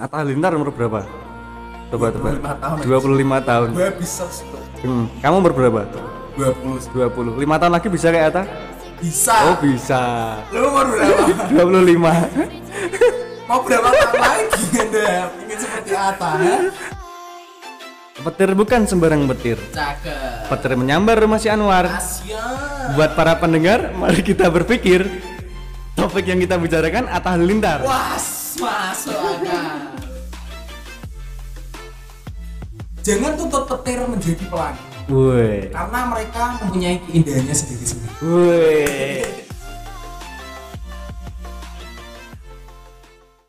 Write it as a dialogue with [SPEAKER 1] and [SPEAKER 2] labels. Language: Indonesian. [SPEAKER 1] Atta Halilintar umur berapa? Coba tebak.
[SPEAKER 2] 25 tahun,
[SPEAKER 1] 25 tahun.
[SPEAKER 2] gue bisa
[SPEAKER 1] Hmm. Kamu umur berapa? 20.
[SPEAKER 2] 20
[SPEAKER 1] 5 tahun lagi bisa kayak Atta?
[SPEAKER 2] bisa
[SPEAKER 1] Oh, bisa.
[SPEAKER 2] lu mau berapa
[SPEAKER 1] 25.
[SPEAKER 2] mau berapa tahun lagi anda ingin seperti Ata ya?
[SPEAKER 1] Petir bukan sembarang petir.
[SPEAKER 2] cakep
[SPEAKER 1] Petir menyambar rumah si Anwar.
[SPEAKER 2] Asia
[SPEAKER 1] Buat para pendengar, mari kita berpikir topik yang kita bicarakan Atta Halilintar.
[SPEAKER 2] was masuk akal jangan tutup petir menjadi pelangi
[SPEAKER 1] Woi.
[SPEAKER 2] karena mereka mempunyai keindahannya sendiri-sendiri
[SPEAKER 1] Woi.